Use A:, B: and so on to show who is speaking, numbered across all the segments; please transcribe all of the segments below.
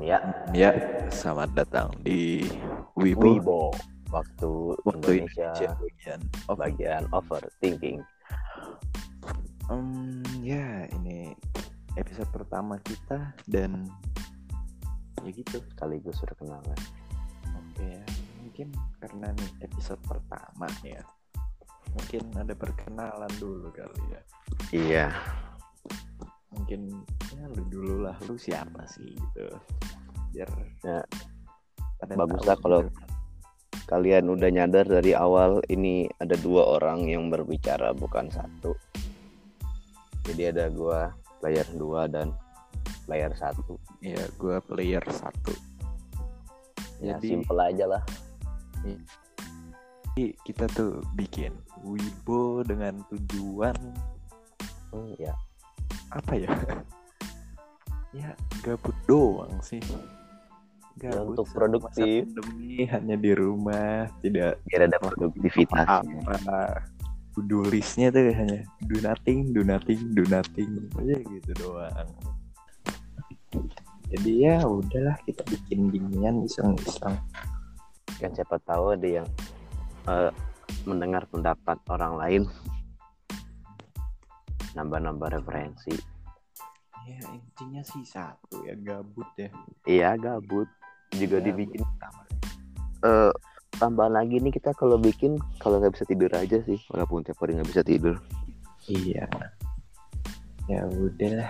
A: Ya,
B: Ya, selamat datang di Wibo
A: Wibo waktu,
B: waktu
A: Indonesia,
B: Indonesia bagian. Oh,
A: bagian overthinking.
B: em, ya ini episode pertama kita dan ya gitu.
A: Sekaligus ya. kenangan
B: Oke ya, mungkin karena nih episode pertama nih ya. Mungkin ada perkenalan dulu kali ya.
A: Iya.
B: Mungkin ya lu dulu lah, lu siapa sih gitu. Biar
A: Ya.
B: pada
A: Bagus
B: tahu
A: lah kalau
B: sebenarnya.
A: Kalian udah nyadar dari awal ini ada dua orang yang berbicara bukan satu. Jadi ada gua player dua dan player satu.
B: ya gua player satu.
A: Ya
B: Jadi-
A: simple aja lah.
B: Jadi kita tuh bikin Wibo dengan tujuan
A: Hmm, ya.
B: apa ya? ya gabut doang sih.
A: Ya, untuk
B: sama masa
A: produktif.
B: pandemi, hanya di rumah, tidak
A: Biar ada produktivitas.
B: apa. To-do listnya tuh hanya do nothing, do nothing, do nothing aja gitu doang. Jadi ya udahlah kita bikin ginian iseng-iseng.
A: Kan siapa tahu ada yang eh, mendengar pendapat orang lain nambah-nambah referensi.
B: Ya intinya sih satu ya gabut ya.
A: Iya gabut juga
B: Gabut
A: dibikin
B: utama.
A: eh tambahan lagi nih kita kalau bikin kalau nggak bisa tidur aja sih walaupun tiap hari nggak bisa tidur
B: Iya. Ya udahlah,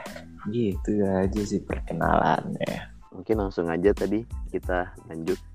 B: gitu aja sih perkenalannya.
A: mungkin langsung aja tadi kita lanjut